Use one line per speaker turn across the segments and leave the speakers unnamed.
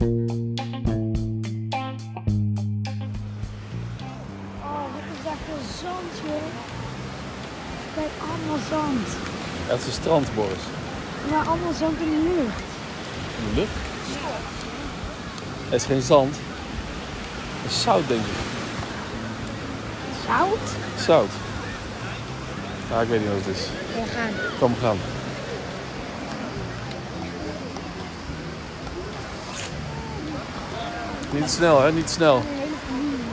Oh, zand.
Dat is een strand, Boris.
Maar allemaal zand in de lucht.
In de lucht. Het is geen zand. Het is zout, denk ik.
Zout?
Zout. Ah, ik weet niet wat het is.
We gaan.
Kom, we gaan. Niet snel, hè? Niet snel.
Een hele familie.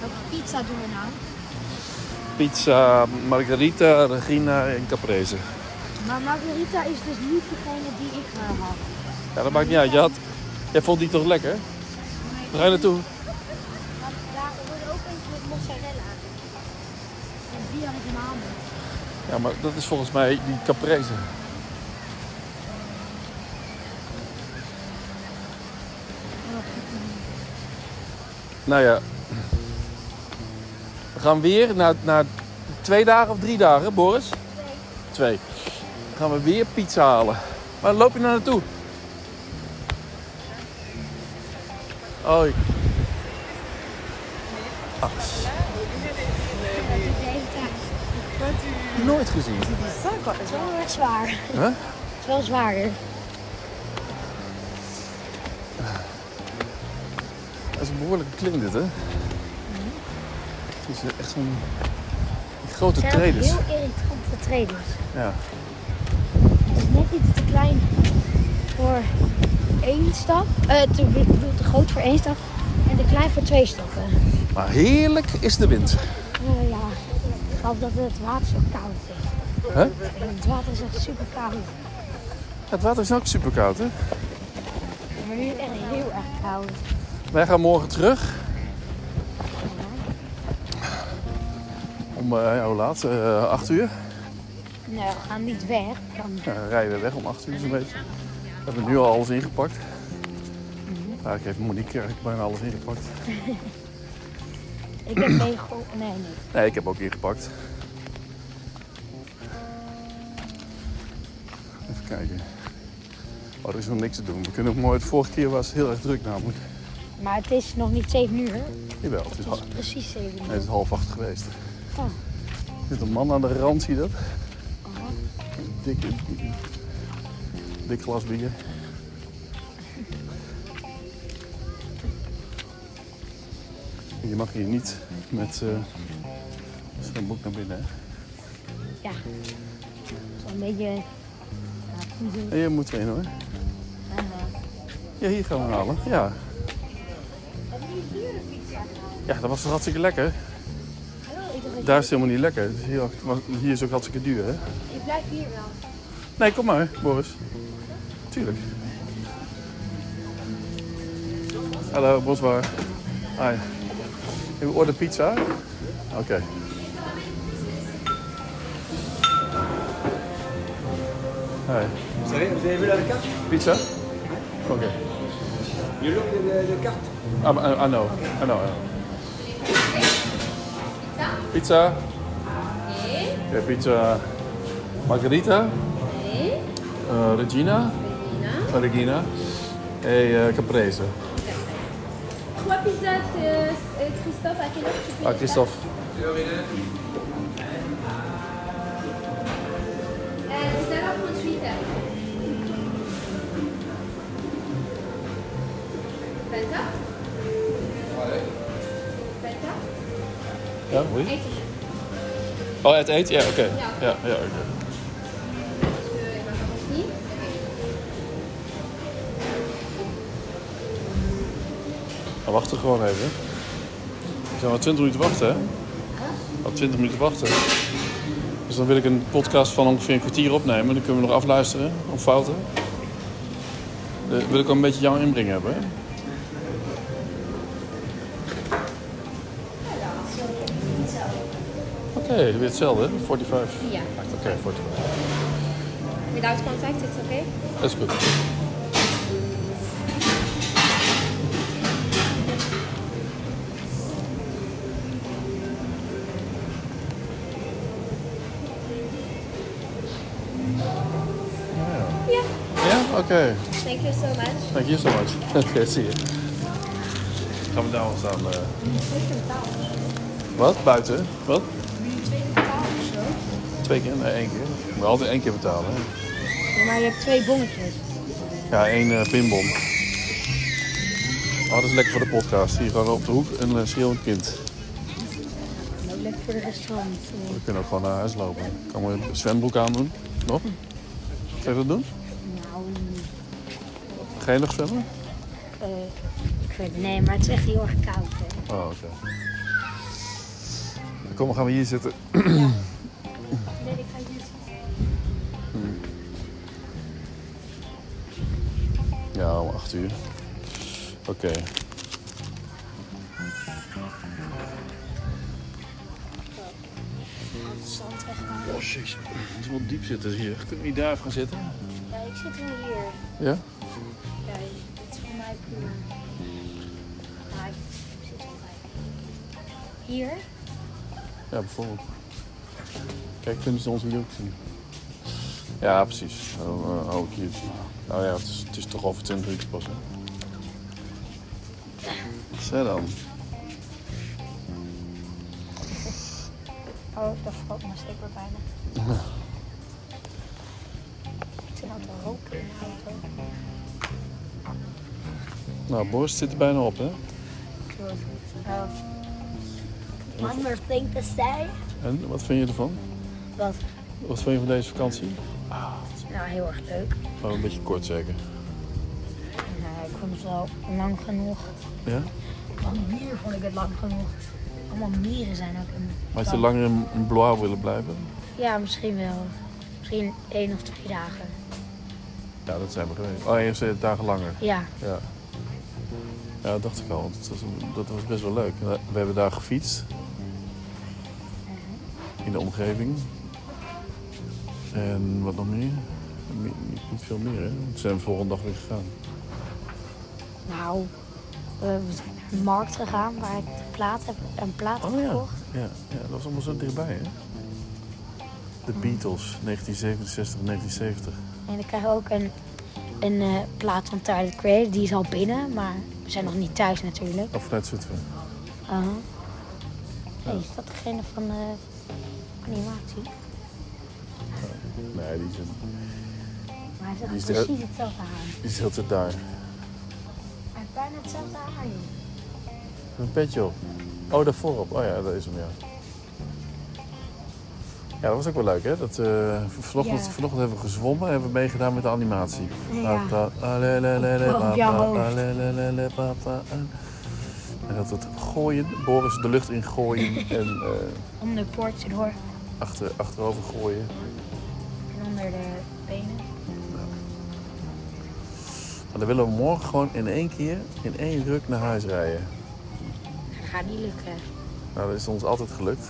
Welke pizza doen we nou?
Pizza, margarita, regina en caprese.
Maar margarita is dus niet degene die ik eh, had.
Ja, dat maakt niet uit. Je had... Jij vond die toch lekker? Waar ga je naartoe?
Daar wordt ook eentje met mozzarella. En die had ik helemaal niet.
Ja, maar dat is volgens mij die caprese. Nou ja. We gaan weer na, na twee dagen of drie dagen, Boris? Twee. Twee. Gaan we weer pizza halen. Waar loop je nou naartoe? Hoi. Ah, Ach,
De hele tijd.
nooit gezien.
Het is wel erg zwaar.
Huh?
Het is wel zwaarder.
Dat is een behoorlijke klim dit, hè? Het is echt zo'n... die grote
Het zijn ook
traders.
heel irritante traders.
Ja.
Het is net iets te klein voor één stap. Eh, te, ik bedoel, te groot voor één stap en te klein voor twee stappen.
Maar heerlijk is de wind.
Eh, ja, ik geloof dat het water zo koud is.
Huh?
Het water is echt super koud.
Het water is ook super koud, hè?
Maar nu is het echt heel erg koud.
Wij gaan morgen terug. Om, eh, hoe laat? Eh 8 uur.
Nou, we gaan niet weg. Dan
Ja, dan rijden we weg om 8 uur zo'n beetje. We hebben nu al alles ingepakt. Ja, ik heb Monique eigenlijk bijna alles ingepakt.
Ik heb geen go- Nee, nee.
Nee, ik heb ook ingepakt. Even kijken. Oh, er is nog niks te doen. We kunnen ook mooi... De vorige keer was het heel erg druk namelijk.
Maar het is nog niet 7 uur.
Jawel, het is,
Het
ha-
is precies 7
nee, het
uur.
is half acht geweest.
Oh.
Er zit een man aan de rand, zie je dat?
Oh.
Dik, dik glas bier. Je mag hier niet met eh zo'n boek naar binnen. Hè?
Ja. Het is wel een beetje... Ja, voedsel.
Hey, je moet erin hoor.
En, eh,
Ja, hier gaan we halen. Ja.
Hebben jullie dure pizza?
ja, dat was toch hartstikke lekker.
Oh, ik dacht dat-
Daar is het helemaal niet lekker. Dus hier, hier is ook hartstikke duur, hè?
Ik blijf hier wel.
Nee, kom maar, Boris. Tuurlijk. Hallo, Boswaar. Hi. You order pizza? Oké. Hi.
Sorry, vous avez vu la carte
Pizza? Oké.
You look at the, the carte.
Um, I, I know. I know. I know. Pizza? Oké, pizza. Margarita? Eh, Regina? Regina. Regina. En eh, Caprese.
Trois pizzas, euh, euh, Christophe, à quelle heure tu fais
Ah, Christophe.
Euh, 19h38. 20h Ouais. 20h
Ja, hoe?
Et
Oh, het eten? Ja, oké. Ja, ja, oké.
euh, ben, on finit.
Dan wachten we gewoon even. We zijn maar 20 minuten wachten, hè? Al 20 minuten wachten. Dus dan wil ik een podcast van ongeveer een kwartier opnemen. Dan kunnen we nog afluisteren op fouten. Dan wil ik wel een beetje jouw inbreng hebben, hè? Oké, weer hetzelfde, hè? 45.
Ja.
Oké, 45.
Without contact, it's okay?
Dat is goed.
Yeah.
Ja? Oké.
Thank you so much.
Thank you so much. Oké, zie je. Gaan we daar wel staan? eh. Wat? Buiten? Wat? Twee keer? Nee, één keer. Je moet altijd één keer betalen. Hè?
Ja, maar je hebt twee bonnetjes.
Ja, één eh, pinbom. Oh, dat is lekker voor de podcast. Hier gewoon op de hoek een eh, schreeuwend kind.
En ook lekker voor de restaurant. eh,
We kunnen ook gewoon naar huis lopen. Kan we een zwembroek aandoen? Nog? Ga je dat doen?
Nou,
Ga je nog zwemmen?
eh, ik weet het nee, maar het is echt heel erg koud. Hè.
Oh, oké. Kom, dan gaan we hier zitten.
Nee, ik ga hier zitten.
Ja, om acht uur. Oké.
het zand weghalen.
Oh, jezus. Het is wel diep zitten hier. Kunnen we niet daar even gaan zitten?
Ja, ik zit wel hier.
Ja?
Ja, dit is voor mij prima. Ja, ik zit wel bij. Hier?
Ja, bijvoorbeeld. Kijk, kunnen ze ons hier ook zien? Ja, precies. Dan eh, hou ik hier. Nou ja, het is, het is toch over 20 minuten pas. Hè? Zo dan.
Oh, daar valt mijn slipper bijna. Ik zit aan het roken in de auto.
Nou, Boris zit er bijna op, hè?
One more thing to say.
En wat vind je ervan?
Wat?
Wat vind je van deze vakantie?
Nou, heel erg leuk.
Gewoon een beetje kort zeker.
Nou, ik vond het wel lang genoeg.
Ja?
Van mieren vond ik het lang genoeg. Allemaal mieren zijn ook in mijn
Had je
kamp.
langer in, in Blois willen blijven?
Ja, misschien wel. Misschien één of twee dagen.
Ja, dat zijn we geweest. Oh, eerst eh, dagen langer.
Ja.
Ja. Ja, dat dacht ik al. want Dat was, dat was best wel leuk. We hebben daar gefietst. In de omgeving. En wat nog meer? Niet, niet- niet veel meer, hè? Toen zijn we volgende dag weer gegaan.
Nou, we zijn naar de markt gegaan waar ik de plaat heb, een plaat heb
Oh ja.
gekocht.
ja. Ja, dat was allemaal zo dichtbij, hè? De Beatles, 1967, 1970.
En dan krijg je ook een, een eh, plaat van Tyler the Creator. Die is al binnen, maar we zijn nog niet thuis natuurlijk.
Of vanuit Zutphen.
Aha. Hey, is dat degene van eh, de animatie?
Nee, die is,
Maar hij
Die is
zegt
de-
precies hetzelfde haar.
die is altijd
Hij
daar.
heeft bijna hetzelfde haar, joh.
Een petje op. Oh, daar voorop. Oh ja, dat is hem, ja. Ja, dat was ook wel leuk, hè? Dat, eh, vanochtend,
Ja.
vanochtend hebben we gezwommen en hebben we meegedaan met de animatie.
Ja.
Pa, pa, alelelele,
Op- op
pa,
jouw
pa,
hoofd.
alelelele, pa, pa, en- En dat het gooien, Boris de lucht in gooien en eh,
Om de poort te door
achter, achterover gooien.
en onder de benen.
Maar dan willen we morgen gewoon in één keer, in één ruk naar huis rijden.
Dat gaat niet lukken.
Nou, dat is ons altijd gelukt.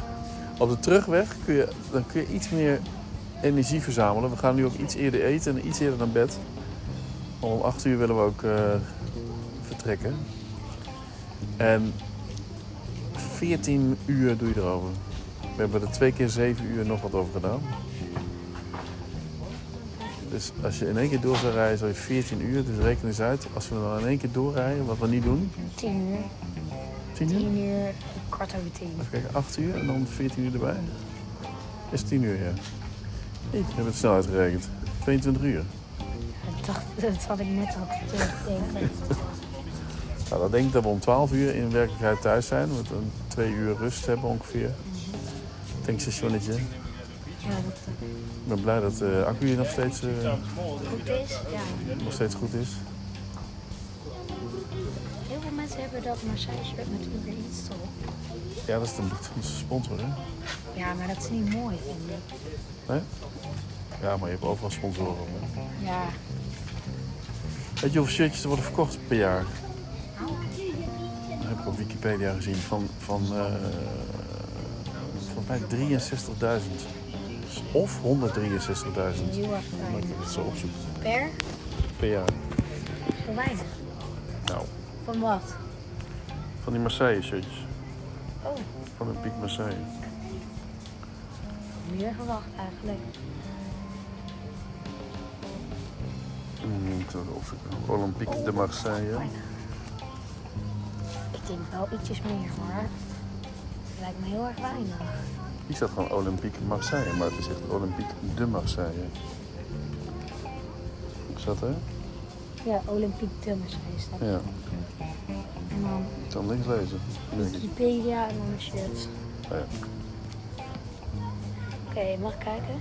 Op de terugweg kun je, dan kun je iets meer energie verzamelen. We gaan nu ook iets eerder eten en iets eerder naar bed. Om 8 uur willen we ook eh, vertrekken. En 14 uur doe je erover. We hebben er twee keer 7 uur nog wat over gedaan. Dus als je in één keer door zou rijden, zou je 14 uur. Dus reken eens uit, als we dan in één keer doorrijden, wat we niet doen.
Tien uur.
10 uur?
Tien uur, kwart over tien.
Even kijken, 8 uur en dan 14 uur erbij. Is 10 uur, ja. Ik heb het snel uitgerekend. 22 uur.
Dat, dacht, dat had ik net al gezegd.
Nou, dat denk ik dat we om 12 uur in werkelijkheid thuis zijn. We een 2 uur rust hebben ongeveer. Tankstationnetje.
Ja, dat
Ik ben blij dat de accu hier nog steeds, eh,
goed is. Ja.
nog steeds goed is.
Heel veel mensen hebben dat Marseille shirt met Uber Eats erop.
Ja, dat is de, onze sponsor, hè?
Ja, maar dat is niet mooi, vind ik.
Nee? Ja, maar je hebt overal sponsoren. hè.
Ja.
Weet je hoeveel shirtjes er worden verkocht per jaar? Dat heb ik op Wikipedia gezien. Van, van, eh, van bijna 63.000. Dus Of 163.000.
Heel erg fijn.
Moet ik het zo opzoeken.
Per?
Per jaar.
Zo weinig.
Nou,
Van wat?
van die Marseille shirtjes.
Oh,
Van de Piek Marseille.
meer verwacht eigenlijk.
nou Hmm, Ik zal het opzoeken. Olympique de Marseille.
Ik denk wel ietsjes meer hoor. Lijkt me heel erg weinig.
Hier staat gewoon Olympique Marseille, maar het is echt Olympique de Marseille. Hoe staat er?
Ja, Olympiek Tummers is dat.
Ja,
En dan
ik kan niks lezen. Denk ik.
Wikipedia en dan een shirt.
Nou ja.
Oké, mag ik kijken?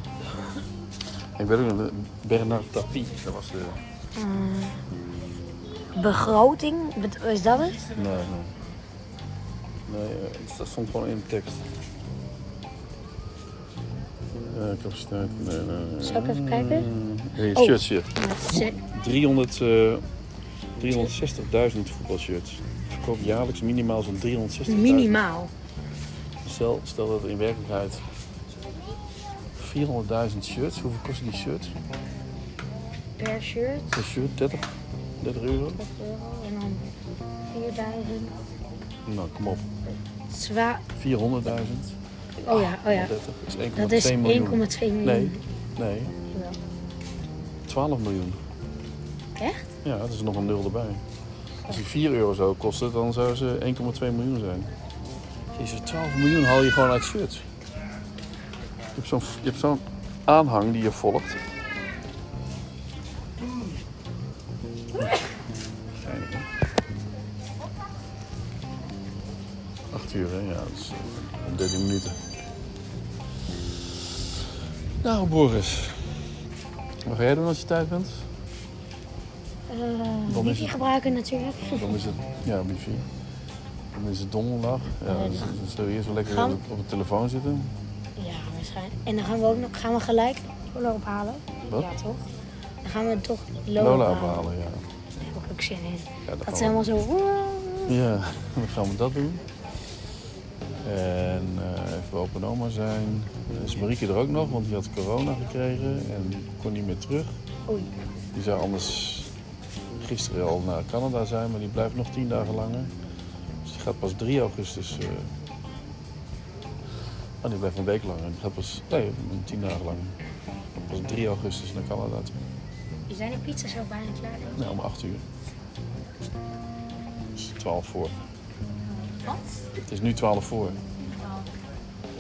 Ik ben ook nog de Bernard Tapie. Dat was de...
Begroting, bet- is dat het?
Nee, nee. Nee, eh, dat stond gewoon in de tekst. Eh, capaciteit, nee, nee, nee.
Zal ik even kijken?
Hey,
Oh.
shirtje.
Ja, zet-
300, eh, 360.000 voetbalshirts. Verkoop jaarlijks minimaal zo'n 360.000.
minimaal.
Stel, stel dat er in werkelijkheid 400.000 shirts. Hoeveel kosten die shirts?
Per shirt,
Per shirt 30, 30 euro?
30 euro. En dan 4000.
Nou, kom op.
Zwa
400.000.
oh ja, oh ja.
30 is 1,2
Dat is 1,2
miljoen.
miljoen.
Nee, nee.
Wel.
12 miljoen.
Echt?
Ja, dat is nog een nul erbij. Als die 4 euro zou kosten, dan zou ze 1,2 miljoen zijn. Jezus, 12 miljoen haal je gewoon uit shirts. Je hebt zo'n je hebt zo'n aanhang die je volgt. Geinig, hè? 8 uur, hè? Ja, dat is eh, 13 minuten. Nou, Boris. Wat ga jij doen als je tijd bent?
Eh
Dan is
wifi
het-
gebruiken natuurlijk.
Dan is het, ja, wifi. Dan is het donderdag. Ja, dan z- dan zullen we eerst wel lekker
Gaan-
op de, op de telefoon zitten.
Ja, waarschijnlijk. En dan gaan we ook nog, gaan we gelijk Lola ophalen.
Wat?
Ja, toch? Dan gaan we toch Lola,
Lola
ophalen.
ophalen, ja.
Daar heb ik ook zin in.
ja dat
Dat
gaan
is helemaal zo...
we. Ja, dan gaan we dat doen. En eh, even bij open oma zijn. Dan Is Marieke er ook nog, want die had corona gekregen en kon niet meer terug.
Oei.
Die zou anders gisteren al naar Canada zijn, maar die blijft nog tien dagen langer. Dus die gaat pas 3 augustus. eh Oh, die blijft een week langer. Die gaat pas. Nee, tien dagen langer. Gaat Pas 3 augustus naar Canada toe.
Zijn de pizza's al bijna klaar? denk ik?
Nou, om 8 uur. Het is 12 voor.
Wat?
Het is nu 12 voor.
Ik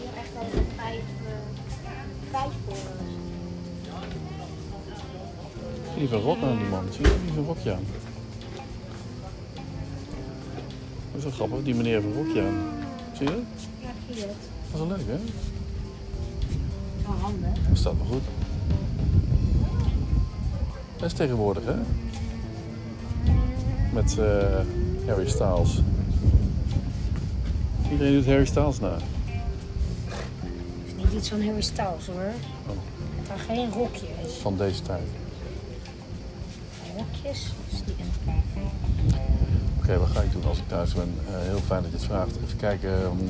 heb echt al vijf, vijf voor.
Lieve rok aan die man. Zie je? Lieve rokje aan. Dat is wel grappig. Die meneer heeft een rokje aan. Zie je? dat?
Ja, ik zie het.
Dat is wel leuk, hè?
Wel handig.
Dat staat wel goed. Dat is tegenwoordig, hè? Met eh, Harry Styles. Iedereen doet Harry Styles na.
Het is niet iets van Harry Styles hoor.
Oh.
Het zijn geen rokjes.
Van deze tijd.
Rokjes? is niet echt.
Oké, wat ga ik doen als ik thuis ben? Eh, heel fijn dat je het vraagt. Even kijken. mm.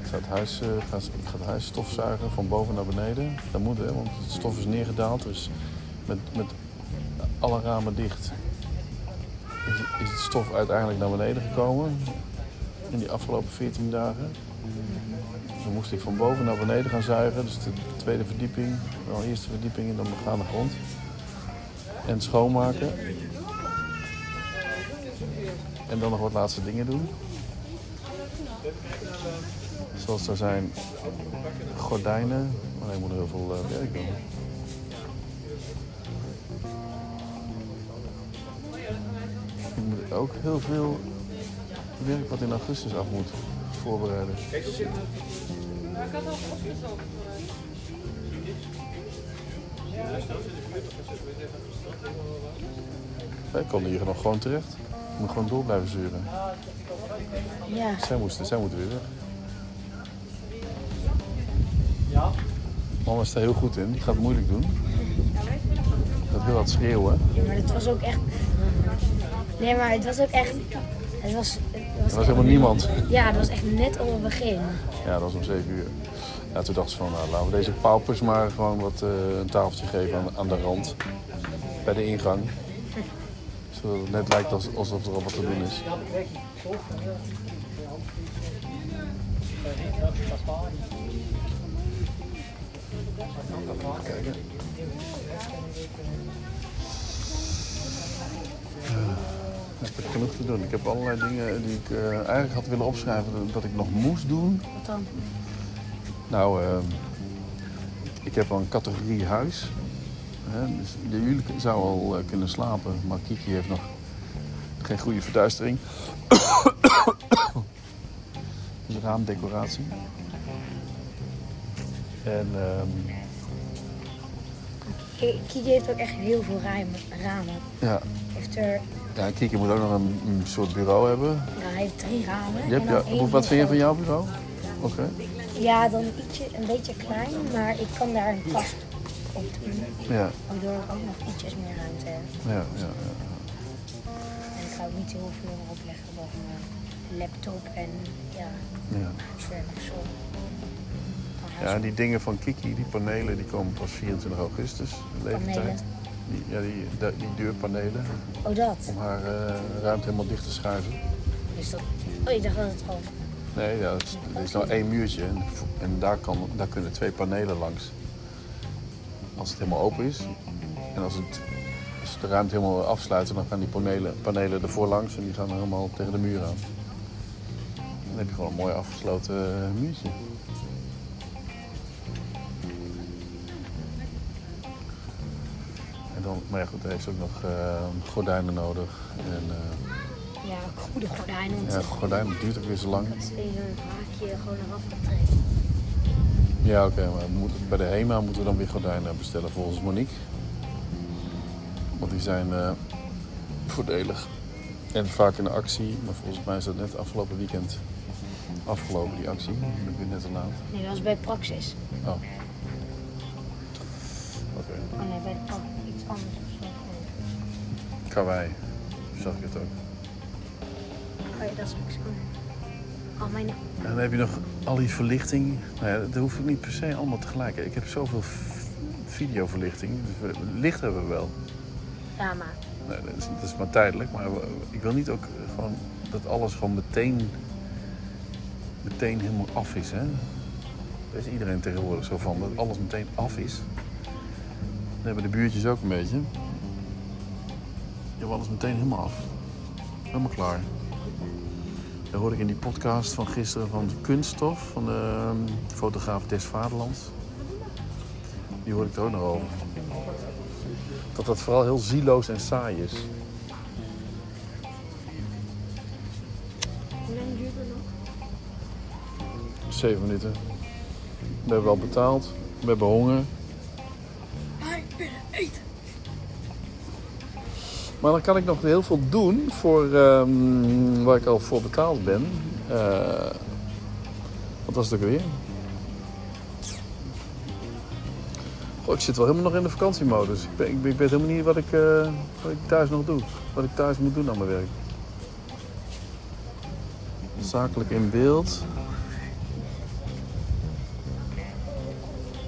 ik, ga het huis, eh, ga, ik ga het huis stofzuigen van boven naar beneden. Dat moet, hè, want het stof is neergedaald. Dus met, met alle ramen dicht is, is het stof uiteindelijk naar beneden gekomen. In die afgelopen 14 dagen. Dus Dan moest ik van boven naar beneden gaan zuigen. Dus de tweede verdieping, wel eerste verdieping en dan begaande grond. En schoonmaken. En dan nog wat laatste dingen doen. Zoals er zijn gordijnen. Maar ik moet nog heel veel eh, werk doen. Ik moet ook heel veel werk wat in augustus af moet voorbereiden. Wij konden hier nog gewoon terecht. Ik moet gewoon door blijven zuren.
Ja.
Zij moesten, zij moeten weer weg. Mama is daar heel goed in. Die gaat het moeilijk doen. Dat wil wat schreeuwen.
Ja, maar het was ook echt. Nee, maar het was ook echt. Het was. Het was,
Er was helemaal niemand.
Ja, het was echt net op het begin.
Ja, dat was om 7 uur. Ja, toen dacht ze van, nou, laten we deze paupers maar gewoon wat eh, een tafeltje geven aan, aan de rand. Bij de ingang. Zodat het net lijkt als- alsof er al wat te doen is. Even kijken. Eh, Ik heb genoeg te doen. Ik heb allerlei dingen die ik eh, eigenlijk had willen opschrijven dat ik nog moest doen.
Wat dan?
Nou, ehm, ik heb al een categorie huis. Hè, dus de- jullie zou al eh, kunnen slapen, maar Kiki heeft nog geen goede verduistering. dus raamdecoratie. En ehm,
Ki- Kiki heeft ook echt heel veel ramen. ramen.
ja,
Heeft er,
ja, Kiki moet ook nog een, een soort bureau hebben.
nou, hij heeft drie ramen.
Je hebt,
en dan
ja,
één
hoe- wat vind je van
groot.
jouw bureau? Oké.
Ja, dan ietsje, een beetje klein, maar ik kan daar een kast op doen.
Ja,
Waardoor ik ook nog ietsjes meer ruimte heb.
ja, ja, ja.
En ik ga ook niet heel veel erop leggen boven mijn laptop en ja,
ja.
scherm of zo. Maar hij
Ja,
is-
en die dingen van Kiki, die panelen, die komen pas 24 augustus.
Panelen?
Leeftijd. Die, ja, die, die, die deurpanelen.
Oh, dat.
Om haar eh, ruimte helemaal dicht te schuiven.
Is dat... Oh, ik dacht dat het gewoon...
Nee, ja, het is, er is nou één muurtje en, en daar, kan, daar kunnen twee panelen langs. Als het helemaal open is en als, het, als ze de ruimte helemaal afsluiten, dan gaan die panelen, panelen ervoor langs en die gaan helemaal tegen de muur aan. Dan heb je gewoon een mooi afgesloten eh, muurtje. En dan, maar ja goed, dan heeft ze ook nog eh, gordijnen nodig. En eh,
Ja, goede gordijnen. Want
ja, gordijnen duurt ook weer zo lang.
dat is in zo'n haakje gewoon eraf getrekt.
Ja, oké, maar we moeten- bij de HEMA moeten we dan weer gordijnen bestellen volgens Monique. Want die zijn eh, voordelig en vaak in actie. Maar volgens mij is dat net afgelopen weekend afgelopen, die actie. Ik ben ik weer net te laat.
Nee, dat is bij Praxis.
Oh. Oké.
Oh nee, bij de oh, iets anders of zo.
Karwei, zag ik het ook.
Oh ja, dat is ook zo. Oh, mijn...
En dan heb je nog al die verlichting. Nou ja, dat hoeft ook niet per se allemaal tegelijk. Ik heb zoveel v- videoverlichting. Dus we- licht hebben we wel.
Ja, maar...
Nee, dat is, dat is maar tijdelijk. Maar we- ik wil niet ook gewoon dat alles gewoon meteen, meteen helemaal af is. Hè? Daar is iedereen tegenwoordig zo van, dat alles meteen af is. Dat hebben de buurtjes ook een beetje. Die hebben alles meteen helemaal af. Helemaal klaar. Dat hoorde ik in die podcast van gisteren van Kunststof, van de ehm, fotograaf Des Vaderlands. Die hoorde ik er ook nog over dat dat vooral heel zieloos en saai is.
Hoe lang duurt het nog?
Zeven minuten. We hebben al betaald. We hebben honger. Maar dan kan ik nog heel veel doen voor ehm, waar ik al voor betaald ben. Eh, wat was het ook weer? Goh, ik zit wel helemaal nog in de vakantiemodus. Ik, ben, ik, ben- ik weet helemaal niet wat ik, eh, wat ik thuis nog doe. Wat ik thuis moet doen aan mijn werk. Zakelijk in beeld.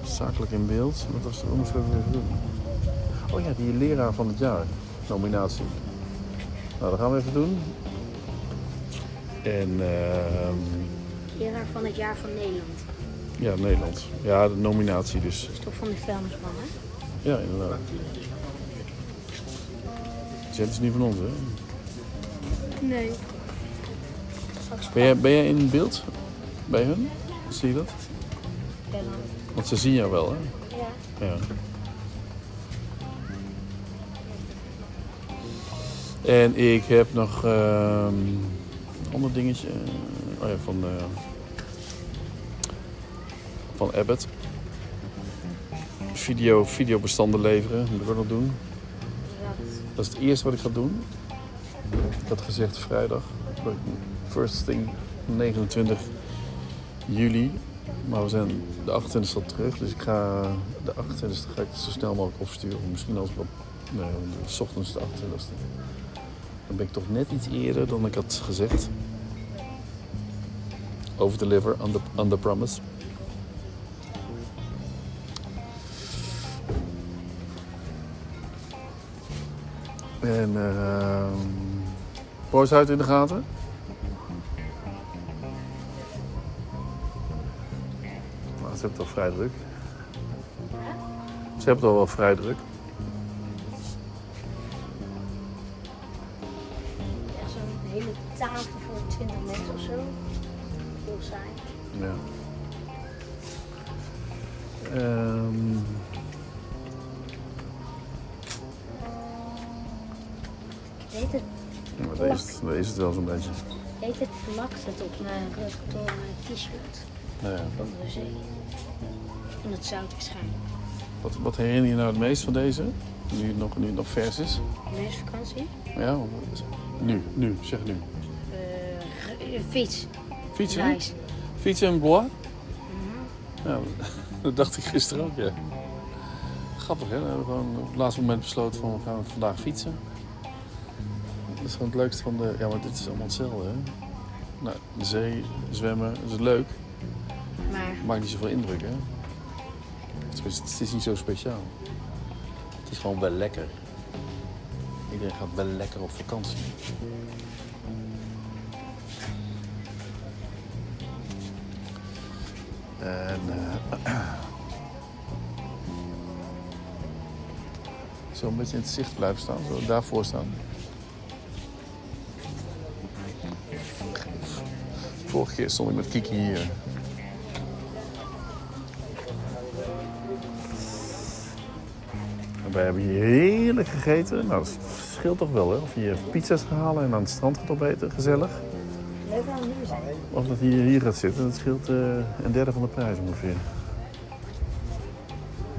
Zakelijk in beeld. Wat was wat moesten we ook weer doen? Oh ja, die leraar van het jaar nominatie. Nou, dat gaan we even doen. En ehm,
Leraar van het jaar van Nederland.
ja, Nederland. Ja, de nominatie dus.
Dat is toch van de vuilnisman, hè?
Ja, inderdaad. Zet is niet van ons, hè?
Nee.
Ben jij, ben jij in beeld bij hun? Zie je dat? Want ze zien jou wel, hè?
Ja.
Ja. En ik heb nog ehm ander dingetje. eh, Oh ja, van, eh, van Abbott. Video, videobestanden leveren, moet ik ook nog doen. Dat is het eerste wat ik ga doen. Ik had gezegd vrijdag. First thing 29 juli. Maar we zijn de 28e al terug. Dus ik ga de 28e ga ik het zo snel mogelijk opsturen. Misschien als ik op. Nee, s ochtends de 28e. Dan ben ik toch net iets eerder dan ik had gezegd. Over deliver, under, under promise. En ehm Booshuid in de gaten. Maar Nou, ze hebben het al vrij druk. Ze hebben het al wel vrij druk.
tafel voor 20 mensen of zo. Heel saai.
Ja. Ehm.
Heet het,
maar daar is, het- daar is het wel zo'n beetje.
heet het plakt het op mijn rug door mijn t-shirt
Nou ja.
van de zee. En dat zout waarschijnlijk.
Wat, wat herinner je nou het meest van deze? Nu het nog, nu het nog vers is.
Meest vakantie?
Ja, nu, nu, zeg nu.
Eh, eh, fiets.
Fietsen?
Reis.
Fietsen in Blois? Ja, dat dacht ik gisteren ook, ja. Grappig, hè? We hebben gewoon op het laatste moment besloten van we gaan vandaag fietsen. Dat is gewoon het leukste van de... Ja, maar dit is allemaal hetzelfde, hè? Nou, de zee, zwemmen, dat is leuk.
Maar
Maakt niet zoveel indruk, hè? Tenminste, Het is niet zo speciaal. Het is gewoon wel lekker. Iedereen gaat wel lekker op vakantie. En... eh, zo een beetje in het zicht blijven staan. Zo daarvoor staan. Vorige keer stond ik met Kiki hier. We hebben hier heerlijk gegeten. Nou, dat scheelt toch wel, hè? Of je hier pizza's gaat halen en aan het strand gaat opeten, gezellig.
leuk aan het zijn.
Of dat hij hier gaat zitten, dat scheelt eh, een derde van de prijs ongeveer.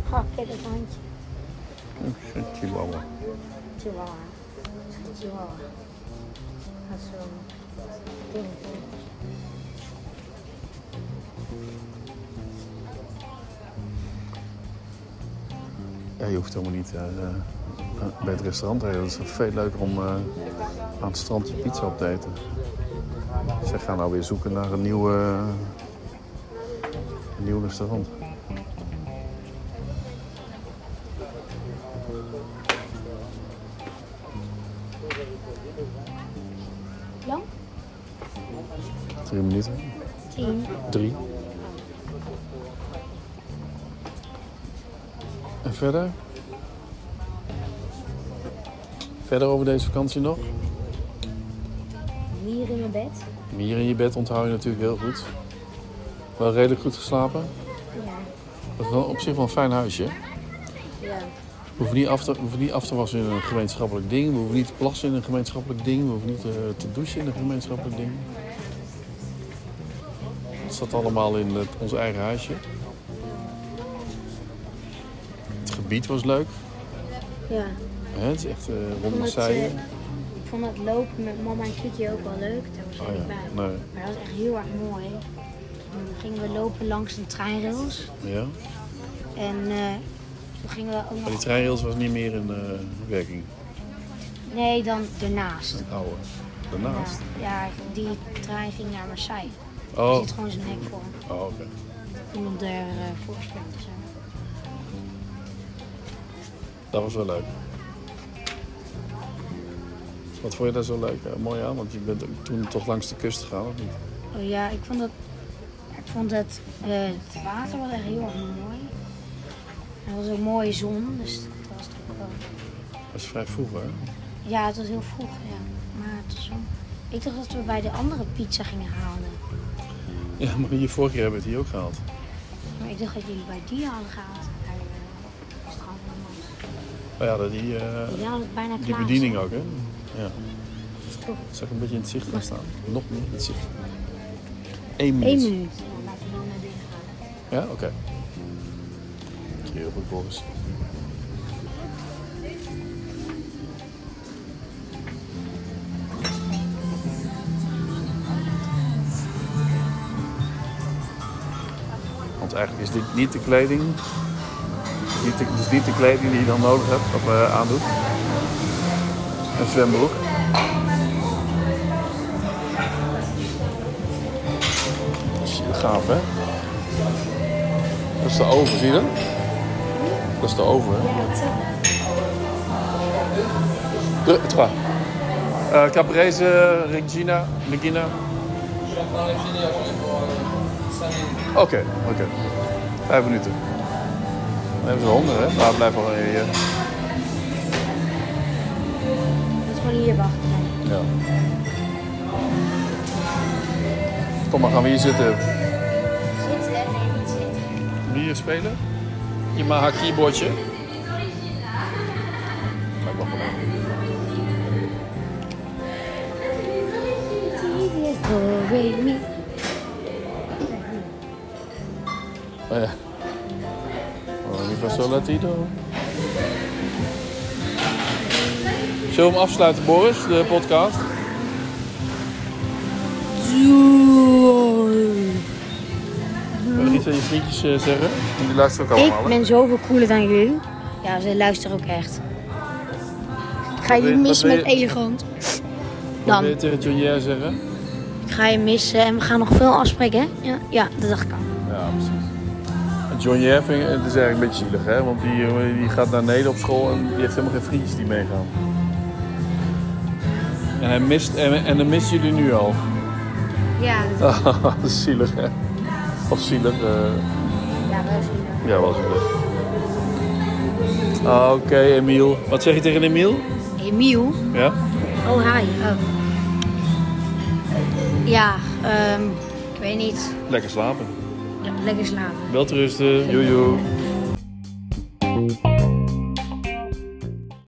Ga, kijk het handje.
Oeh, Chihuahua.
Chihuahua. Chihuahua. Gaat zo. Ding, ding.
Ja, je hoeft helemaal niet eh, eh, bij het restaurant te eten. Het is veel leuker om eh, aan het strand je pizza op te eten. Ze gaan nou weer zoeken naar een nieuw, eh, een nieuw restaurant.
Lang?
Drie minuten.
Tien.
Drie. En verder? Verder over deze vakantie nog?
Mier in mijn bed.
Hier in je bed onthoud je natuurlijk heel goed. Wel redelijk goed geslapen.
Ja.
Dat is wel op zich wel een fijn huisje. hè?
Ja.
We hoeven niet af te, we hoeven niet af te wassen in een gemeenschappelijk ding. We hoeven niet te plassen in een gemeenschappelijk ding. We hoeven niet eh, te douchen in een gemeenschappelijk ding. Het staat allemaal in het, ons eigen huisje. Het gebied was leuk.
Ja.
Hè, het is echt eh rond
Omdat,
Marseille.
eh, Ik vond dat lopen met mama en Kiki ook wel leuk. Daar was ik
Oh ja,
niet bij.
nee.
Maar dat was echt heel erg mooi. En dan gingen we lopen langs de treinrails.
Ja.
En eh, toen gingen we ook
Maar die
nog...
treinrails was niet meer in eh, werking.
Nee, dan ernaast.
Het oude.
Ja,
Daarnaast.
ja, die trein ging naar Marseille. Er
Oh,
zit gewoon zijn nek voor.
oh oké.
Iemand daar eh voor springt of zo.
Dat was wel leuk. Wat vond je daar zo leuk, eh, mooi aan? Want je bent ook toen toch langs de kust gegaan, of niet?
Oh ja, ik vond dat... Ik vond dat eh, het water wel echt heel erg mooi. En het was ook mooie zon, dus dat was toch wel...
Dat is vrij vroeg, hè?
Ja, het was heel vroeg, ja. Maar het was wel... Ik dacht dat we bij de andere pizza gingen halen.
Ja, maar hier vorig jaar hebben we het hier ook gehaald.
Maar ik dacht dat jullie bij die hadden gehaald. Bij eh, Strand en Mans.
Maar ja, dat die, eh,
Jullie hadden het bijna
die
klaar.
bediening ook, hè? Ja.
toch-
Dat zag een beetje in het zicht gaan staan. Nog meer in het zicht. Eén minuut.
Eén minuut. Ja, laten we dan naar binnen gaan.
Ja, oké. Heel goed, Boris. Want eigenlijk is dit niet de kleding. Niet de, dit is niet de kleding die je dan nodig hebt of eh, aandoet. Een zwembroek. Gaaf hè? Dat is de oven, zie je dat? Dat is de oven, hè?
Ja, dat
Deux, trois. Eh, Caprese, Regina, Regina. Oké, oké. Vijf minuten. Dan hebben ze honger, hè? Maar we blijven wel hier.
is gewoon hier wachten.
Ja. Kom maar, gaan we hier zitten.
Zitten, nee, niet zitten.
Hier spelen. Yamaha keyboardje. Lijkt wel gewoon. Oh ja. Oh, die was wel Latino. Zullen we hem afsluiten, Boris, de podcast?
Mm.
Wil je iets aan je vriendjes eh, zeggen? Want Die luisteren ook allemaal.
Ik
hè?
ben zoveel cooler dan jullie. Ja, ze luisteren ook echt. Ik ga
wil
jullie
je- wat
missen
wil
met
je-
elegant.
Wat wil je
Dan.
tegen Jolier zeggen?
Ik ga je missen en we gaan nog veel afspreken, hè? Ja, ja dat dacht ik al.
Ja, precies. En John Jerving, het is eigenlijk een beetje zielig, hè? Want die, eh, die gaat naar Nederland op school en die heeft helemaal geen vriendjes die meegaan. En hij mist, en, en dan missen jullie nu al.
Ja,
Ah, zielig, hè? Of zielig, eh,
ja wel zo.
ja, wel zielig. Ah, Oké, Emiel. Wat zeg je tegen Emiel?
Emiel?
Ja?
Oh, hi. Oh. Ja, ehm, ik weet niet.
Lekker slapen.
Ja, lekker slapen.
Welterusten, joejoe.